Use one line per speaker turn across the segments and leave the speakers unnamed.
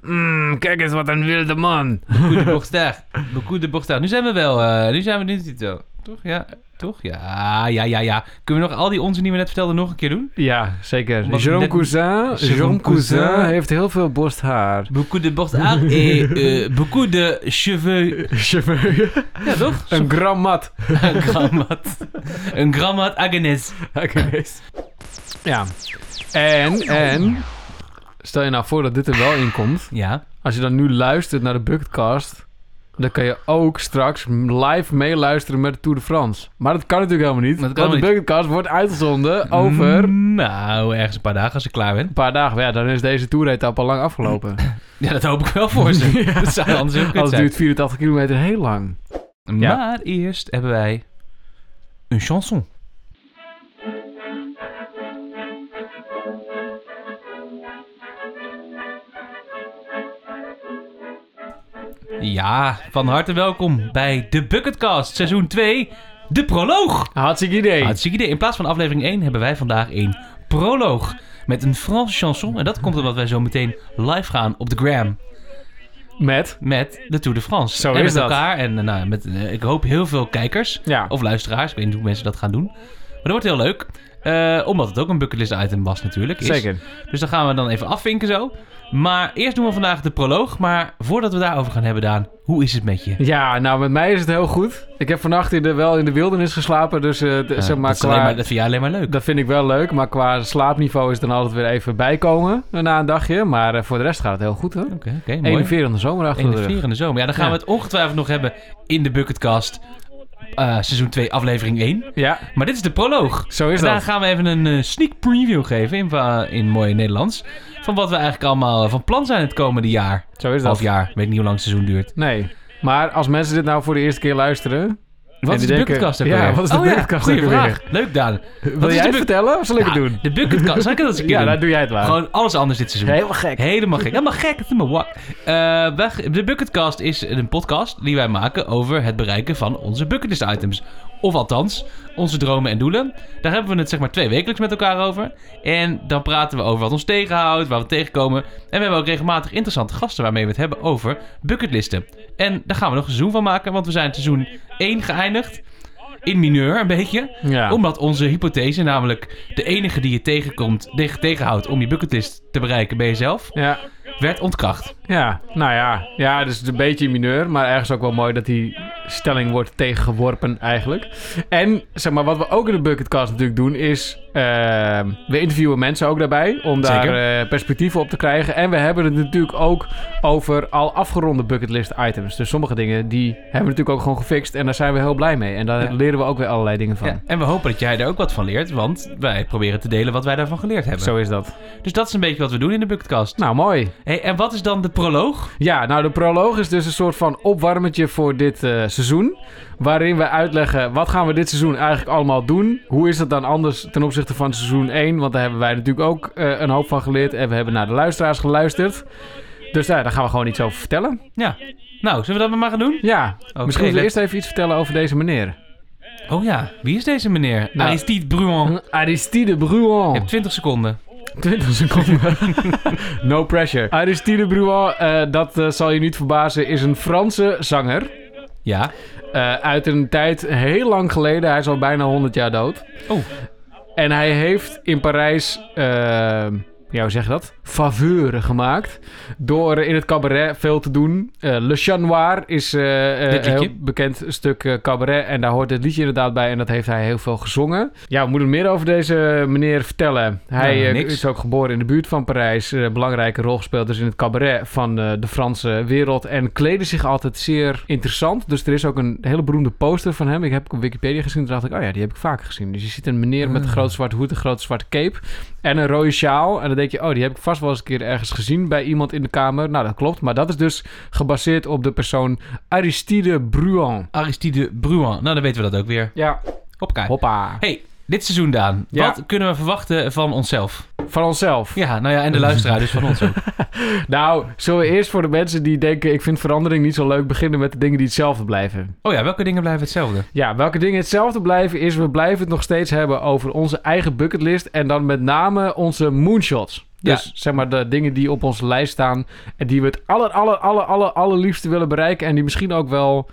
man, Mm, kijk eens wat een wilde man.
Baku de Borgster. Baku de Borgster. Nu zijn we wel. eh, nu zijn we nu zit wel. Toch? Ja. Toch? Ja, ja, ja, ja. Kunnen we nog al die onzin die we net vertelden nog een keer doen?
Ja, zeker.
Omdat
Jerome
net-
Cousin,
Jerome
Jerome Cousin
Cousin
heeft heel veel borsthaar.
Beaucoup de borsthaar et eh, beaucoup de cheveux. Ja, toch?
een grammat.
Een grammat. Een grammat Agnes.
Ja. En, en, stel je nou voor dat dit er wel in komt.
Ja.
Als je dan nu luistert naar de Bucketcast, dan kan je ook straks live meeluisteren met de Tour de France. Maar dat kan natuurlijk helemaal niet,
Dat kan
want de
niet.
Bucketcast wordt uitgezonden over een
Mm, Nou, ergens een paar dagen als ik klaar ben.
paar dagen. Ja, dan is deze toeretappe al lang afgelopen.
Ja, dat hoop ik wel voor ze. Dat zou anders heel kut
Als het
zijn.
duurt 84 kilometer heel lang. Ja.
Maar eerst hebben wij een chanson. Ja, van harte welkom bij de Bucketcast, seizoen 2, de proloog.
Hartstikke idee.
Hartstikke idee. In plaats van aflevering 1 hebben wij vandaag een proloog. Met een Franse chanson. En dat komt omdat wij zo meteen live gaan op de gram.
Met.
Met de Tour de France.
Zo
en
is
met
dat.
elkaar. En eh, nou, met, eh, ik hoop heel veel kijkers.
Ja.
Of luisteraars. Ik weet niet hoe mensen dat gaan doen. Maar dat wordt heel leuk. Eh, omdat het ook een bucketlist item was natuurlijk. is.
Zeker.
Dus dan gaan we dan even afvinken zo. Maar eerst doen we vandaag de proloog. Maar voordat we daarover gaan hebben, Daan. Hoe is het met je?
Ja, nou, met mij is het heel goed. Ik heb vannacht in de, wel in de wildernis geslapen, dus eh, d-
Eh,
zeg maar,
dat, is
qua,
alleen maar, dat vind jij alleen maar leuk.
dat vind ik wel leuk. Maar qua slaapniveau is het dan altijd weer even bijkomen eh, na een dagje. Maar eh, voor de rest gaat het heel goed, hoor.
Oké, oké, mooi.
41 in de zomer achter de rug.
in de zomer. Ja, dan gaan
Ja.
we het ongetwijfeld nog hebben in de Bucketcast. eh, seizoen 2, aflevering 1.
Ja,
Maar dit is de proloog.
zo is
En daar
dat.
gaan we even een eh, sneak preview geven in, va- in mooi Nederlands. Van wat we eigenlijk allemaal eh, van plan zijn het komende jaar.
Zo is
Half
dat.
jaar. Weet niet hoe lang het seizoen duurt.
Nee. Maar als mensen dit nou voor de eerste keer luisteren...
Wat is
die
de
denken-
Bucketkast ook
Ja,
alweer?
wat is de
Oh ja,
Bucketkast
goeie
ook alweer?
vraag. Leuk, Daan.
Wil
is
jij
de
het
bu-
vertellen of zal ik het doen?
De Bucketkast. Zal ik dat eens een keer
Ja,
doen?
dat doe jij het maar.
Gewoon alles anders dit seizoen.
gek.
Helemaal gek. Helemaal gek. Helemaal wak. Eh, wij- de Bucketcast is een podcast die wij maken over het bereiken van onze bucketlist items. Of althans, onze dromen en doelen. Daar hebben we het zeg maar twee wekelijks met elkaar over. En dan praten we over wat ons tegenhoudt, waar we tegenkomen. En we hebben ook regelmatig interessante gasten waarmee we het hebben over bucketlisten. En daar gaan we nog een seizoen van maken, want we zijn seizoen 1 geëindigd. In mineur een beetje.
Ja.
Omdat onze hypothese, namelijk de enige die je tegenkomt, tegen- tegenhoudt om je bucketlist te bereiken bij jezelf,
Ja.
werd ontkracht.
Ja, nou ja. Ja, dus het is een beetje mineur, maar ergens ook wel mooi dat die stelling wordt tegengeworpen eigenlijk. En zeg maar, wat we ook in de Bucketcast natuurlijk doen is, ehm, we interviewen mensen ook daarbij om daar eh, perspectieven op te krijgen. En we hebben het natuurlijk ook over al afgeronde bucketlist items. Dus sommige dingen die hebben we natuurlijk ook gewoon gefixt en daar zijn we heel blij mee. En daar
Ja.
leren we ook weer allerlei dingen van.
Ja, en we hopen dat jij daar ook wat van leert, want wij proberen te delen wat wij daarvan geleerd hebben.
Zo is dat.
Dus dat is een beetje wat we doen in de Bucketkast.
Nou, mooi.
Hey, en wat is dan de proloog?
Ja, nou de proloog is dus een soort van opwarmetje voor dit eh, seizoen. Waarin we uitleggen wat gaan we dit seizoen eigenlijk allemaal doen. Hoe is dat dan anders ten opzichte van seizoen 1? Want daar hebben wij natuurlijk ook eh, een hoop van geleerd. En we hebben naar de luisteraars geluisterd. Dus ja, daar gaan we gewoon iets over vertellen.
Ja. Nou, zullen we dat maar maar gaan doen?
Ja, misschien moeten
let-
we eerst even iets vertellen over deze meneer.
Oh ja, wie is deze meneer?
Nou.
Aristide Bruant.
Aristide
Je
Bruon.
hebt 20 seconden.
20 seconden. no pressure. Aristide Bruon, eh, dat eh, zal je niet verbazen, is een Franse zanger.
Ja.
Eh, uit een tijd heel lang geleden. Hij is al bijna 100 jaar dood.
Oh.
En hij heeft in Parijs, eh, ja, hoe zeg je dat? Faveuren gemaakt. Door eh, in het cabaret veel te doen. Eh, Le Chat Noir is eh, eh,
Dit
een
liedje.
heel bekend stuk eh, cabaret. En daar hoort dit liedje inderdaad bij. En dat heeft hij heel veel gezongen. Ja, we moeten meer over deze meneer vertellen. Hij
Nou,
eh,
niks.
is ook geboren in de buurt van Parijs. Eh, belangrijke rol gespeeld dus in het cabaret van eh, de Franse wereld. En kleden zich altijd zeer interessant. Dus er is ook een hele beroemde poster van hem. Ik heb op Wikipedia gezien. Toen dacht ik, oh ja, die heb ik vaak gezien. Dus je ziet een meneer met een
Ah.
groot zwart hoed, een grote zwarte cape. En een rode sjaal. En dan denk je, oh, die heb ik vast wel eens een keer ergens gezien bij iemand in de kamer. Nou, dat klopt. Maar dat is dus gebaseerd op de persoon Aristide Bruant.
Aristide Bruant. Nou, dan weten we dat ook weer.
Ja,
Hoppa.
hoppa.
Hey, dit seizoen, Daan.
Ja.
Wat kunnen we verwachten van onszelf?
Van onszelf.
Ja, nou ja, en de luisteraar dus van ons ook.
Nou, zullen we eerst voor de mensen die denken... ik vind verandering niet zo leuk... beginnen met de dingen die hetzelfde blijven.
Oh ja, welke dingen blijven hetzelfde?
Ja, welke dingen hetzelfde blijven is... we blijven het nog steeds hebben over onze eigen bucketlist... en dan met name onze moonshots.
Ja.
Dus zeg maar de dingen die op onze lijst staan en die we het aller, aller, aller, aller, allerliefste willen bereiken en die misschien ook wel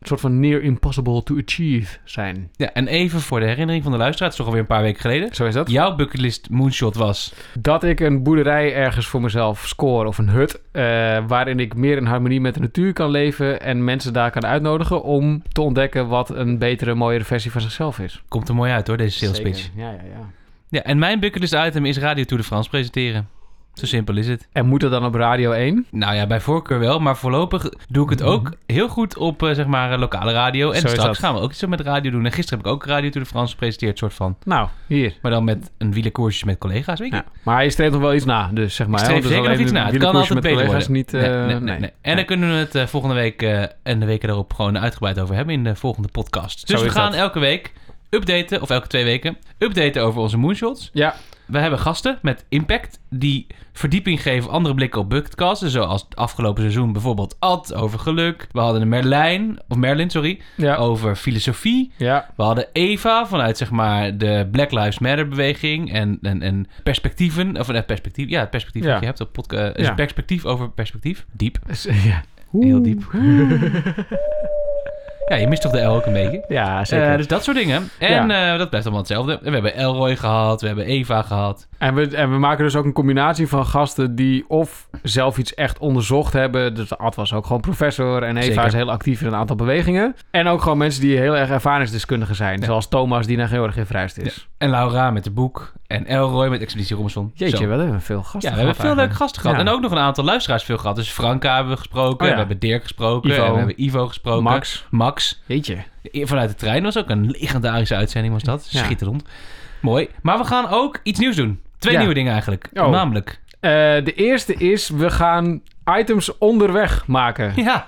een soort van near impossible to achieve zijn.
Ja, en even voor de herinnering van de luisteraar, het is toch alweer een paar weken geleden.
Zo is dat.
Jouw bucketlist moonshot was.
Dat ik een boerderij ergens voor mezelf score of een hut. eh, waarin ik meer in harmonie met de natuur kan leven. En mensen daar kan uitnodigen om te ontdekken wat een betere, mooiere versie van zichzelf is.
Komt er mooi uit hoor, deze sales pitch.
Zeker. Ja, ja, ja.
Ja, en mijn bucketlist item is Radio Tour de France presenteren. Zo simpel is het.
En moet dat dan op Radio 1?
Nou ja, bij voorkeur wel, maar voorlopig doe ik het ook heel goed op eh, zeg maar eh, lokale radio. En
Zo is
straks
dat.
gaan we ook iets met radio doen. En gisteren heb ik ook Radio Tour de France gepresenteerd, soort van.
Nou, hier.
Maar dan met een wielenkoersje met collega's, weet je.
Ja. Maar hij streeft nog wel iets na, dus zeg maar.
Ik
hè,
streef
want het is
zeker nog
alleen
iets
een
na. Het kan
wielerkoersje
altijd
met
beter
collega's Niet, eh,
worden. Nee, nee, nee,
nee.
nee. En dan
Nee.
kunnen we het eh, volgende week eh, en de weken daarop gewoon uitgebreid over hebben in de volgende podcast. Dus
Zo
we
is
gaan
dat.
elke week updaten, of elke twee weken, updaten over onze moonshots.
Ja,
We hebben gasten met impact die verdieping geven, andere blikken op bucketcasten. Zoals het afgelopen seizoen bijvoorbeeld Ad over geluk. We hadden een Merlijn, of Merlin, sorry,
ja,
over filosofie.
ja.
We hadden Eva vanuit zeg maar de Black Lives Matter beweging en, en, en perspectieven, of een perspectief, ja, het perspectief
Ja.
dat je hebt op podcast, is
Ja.
perspectief over perspectief. Diep.
ja.
Heel diep. Ja, je mist toch de L ook een beetje.
ja, zeker.
Eh, dus dat soort dingen. En eh, dat blijft allemaal hetzelfde. We hebben Elroy gehad, we hebben Eva gehad.
En we, en we maken dus ook een combinatie van gasten die of zelf iets echt onderzocht hebben. Dus Ad was ook gewoon professor en Eva
Zeker.
is heel actief in een aantal bewegingen. En ook gewoon mensen die heel erg ervaringsdeskundigen zijn. Zoals Thomas die naar Georgië verhuisd is.
En Laura met het boek. En Elroy met Expeditie Robinson.
Jeetje,
Zo.
wel hebben we veel gasten
Ja, we hebben veel
gehad
leuke gasten gehad.
Ja.
En ook nog een aantal luisteraars veel gehad. Dus Franka hebben we gesproken.
Oh ja.
We hebben Dirk gesproken.
Ivo.
En we hebben Ivo gesproken.
Max.
Max.
Jeetje.
Vanuit de trein was ook een legendarische uitzending, was dat?
Ja.
Schitterend. Mooi. Maar we gaan ook iets nieuws doen. Twee
Ja.
nieuwe dingen eigenlijk.
Oh.
Namelijk.
Eh, de eerste is, we gaan items onderweg maken.
Ja.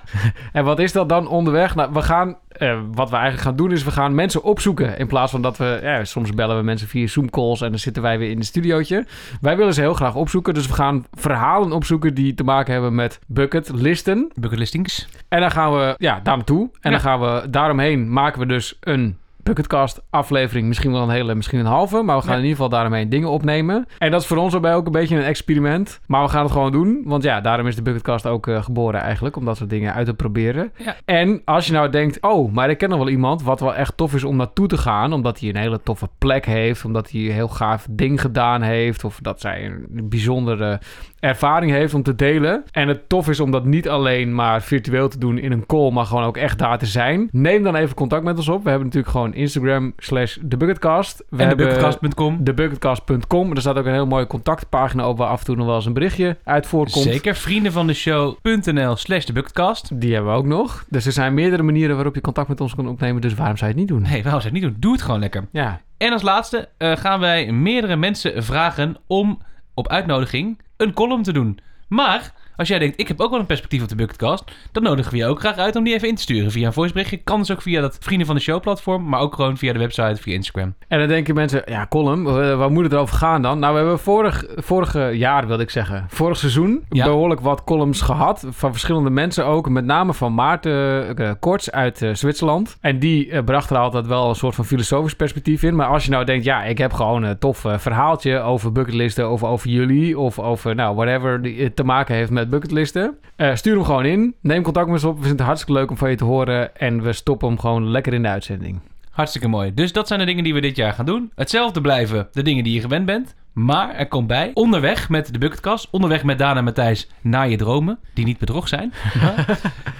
En wat is dat dan onderweg? Nou, we gaan, eh, wat we eigenlijk gaan doen is, we gaan mensen opzoeken. In plaats van dat we, ja, soms bellen we mensen via Zoom calls en dan zitten wij weer in het studiootje. Wij willen ze heel graag opzoeken, dus we gaan verhalen opzoeken die te maken hebben met bucketlisten.
Bucket listings.
En dan gaan we, ja, daar naartoe. En
Ja.
dan gaan we, daaromheen maken we dus een bucketcast aflevering. Misschien wel een hele, misschien een halve. Maar we gaan
Ja.
in ieder geval daaromheen dingen opnemen. En dat is voor ons daarbij ook een beetje een experiment. Maar we gaan het gewoon doen. Want ja, daarom is de bucketcast ook eh, geboren eigenlijk. Om dat soort dingen uit te proberen.
Ja.
En als je nou denkt, oh, maar ik ken nog wel iemand wat wel echt tof is om naartoe te gaan. Omdat hij een hele toffe plek heeft. Omdat hij een heel gaaf ding gedaan heeft. Of dat zij een bijzondere ervaring heeft om te delen. En het tof is om dat niet alleen maar virtueel te doen in een call, maar gewoon ook echt daar te zijn. Neem dan even contact met ons op. We hebben natuurlijk gewoon Instagram slash TheBucketCast. We
en de
hebben
bucketcast.com.
TheBucketCast.com. Er staat ook een heel mooie contactpagina op waar af en toe nog wel eens een berichtje uit voorkomt.
Zeker. Vrienden van de show.nl slash de bucketcast.
Die hebben we ook nog. Dus er zijn meerdere manieren waarop je contact met ons kan opnemen. Dus waarom zou je het niet doen?
Nee, waarom zou je het niet doen? Doe het gewoon lekker.
Ja,
En als laatste eh, gaan wij meerdere mensen vragen om op uitnodiging een column te doen. Maar als jij denkt, ik heb ook wel een perspectief op de Bucketcast, dan nodigen we je ook graag uit om die even in te sturen via een voiceberichtje. Kan dus ook via dat Vrienden van de Show platform, maar ook gewoon via de website, via Instagram.
En dan denken mensen, ja, column, eh, waar moet het over gaan dan? Nou, we hebben vorig, vorige jaar, wilde ik zeggen, vorig seizoen
Ja.
behoorlijk wat columns gehad. Van verschillende mensen ook, met name van Maarten eh, Korts uit eh, Zwitserland. En die eh, bracht er altijd wel een soort van filosofisch perspectief in. Maar als je nou denkt, ja, ik heb gewoon een tof eh, verhaaltje over bucketlisten... of over jullie, of over, nou, whatever die eh, te maken heeft met bucketlisten... eh, stuur hem gewoon in, neem contact met ons op. We vinden het hartstikke leuk om van je te horen... en we stoppen hem gewoon lekker in de uitzending.
Hartstikke mooi. Dus dat zijn de dingen die we dit jaar gaan doen. Hetzelfde blijven de dingen die je gewend bent. Maar er komt bij, onderweg met de Bucketkast, onderweg met Daan en Matthijs naar je dromen, die niet bedrog zijn.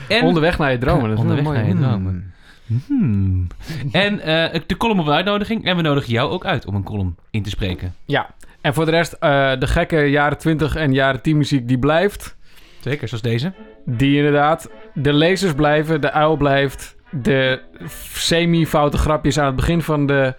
en,
Onderweg naar je dromen. Dat is wel
Onderweg
mooi.
naar je
Hmm.
dromen. Hmm. en eh, de column op de uitnodiging. En we nodigen jou ook uit om een column in te spreken.
Ja. En voor de rest, eh, de gekke jaren 20 en jaren 10 muziek die blijft.
Zeker, zoals deze.
Die inderdaad. De lezers blijven, de uil blijft. De f- semi-foute grapjes aan het begin van de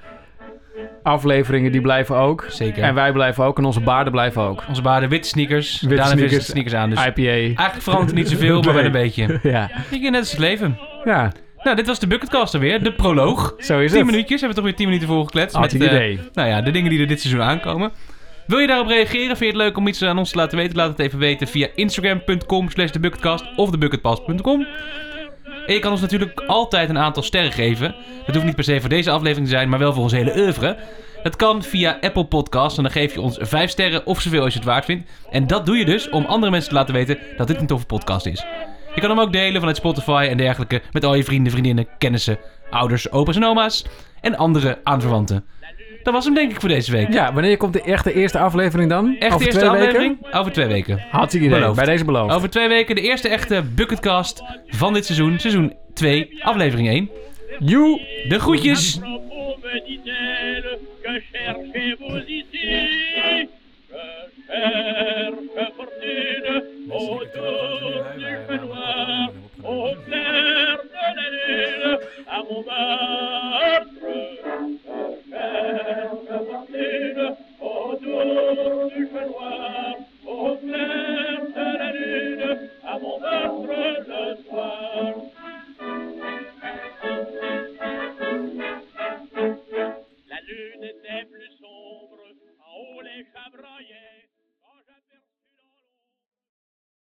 afleveringen die blijven ook.
Zeker.
En wij blijven ook en onze baarden blijven ook.
Onze baden witte sneakers.
Witte
Daan heeft
sneakers.
witte sneakers aan. Dus
IPA.
eigenlijk verandert het niet zoveel, maar wel een beetje.
Ja.
Ik net als het leven.
ja,
Nou, dit was de Bucketcast alweer. De proloog.
zo is
10
het.
minuutjes. Hebben we toch weer 10 minuten voor gekletst.
Had
met,
je het
eh,
idee.
nou ja, de dingen die er dit seizoen aankomen. Wil je daarop reageren? Vind je het leuk om iets aan ons te laten weten? Laat het even weten via instagram.com slash thebucketcast of thebucketpast.com. En je kan ons natuurlijk altijd een aantal sterren geven. Dat hoeft niet per se voor deze aflevering te zijn, maar wel voor ons hele oeuvre. Het kan via Apple Podcasts en dan geef je ons 5 sterren of zoveel als je het waard vindt. En dat doe je dus om andere mensen te laten weten dat dit een toffe podcast is. Je kan hem ook delen vanuit Spotify en dergelijke met al je vrienden, vriendinnen, kennissen, ouders, opa's en oma's en andere aanverwanten. Dat was hem denk ik voor deze week.
Ja, wanneer komt de echte eerste aflevering dan?
Echt de
Over
eerste
twee
aflevering?
Weken?
Over twee weken.
Had ik idee,
Beloofd.
bij deze beloofd.
Over twee weken de eerste echte Bucketcast van dit seizoen. Seizoen 2, aflevering 1.
You
De groetjes!
propos, me dit-elle, que cherchez-vous ici Je cherche fortune autour du peignoir.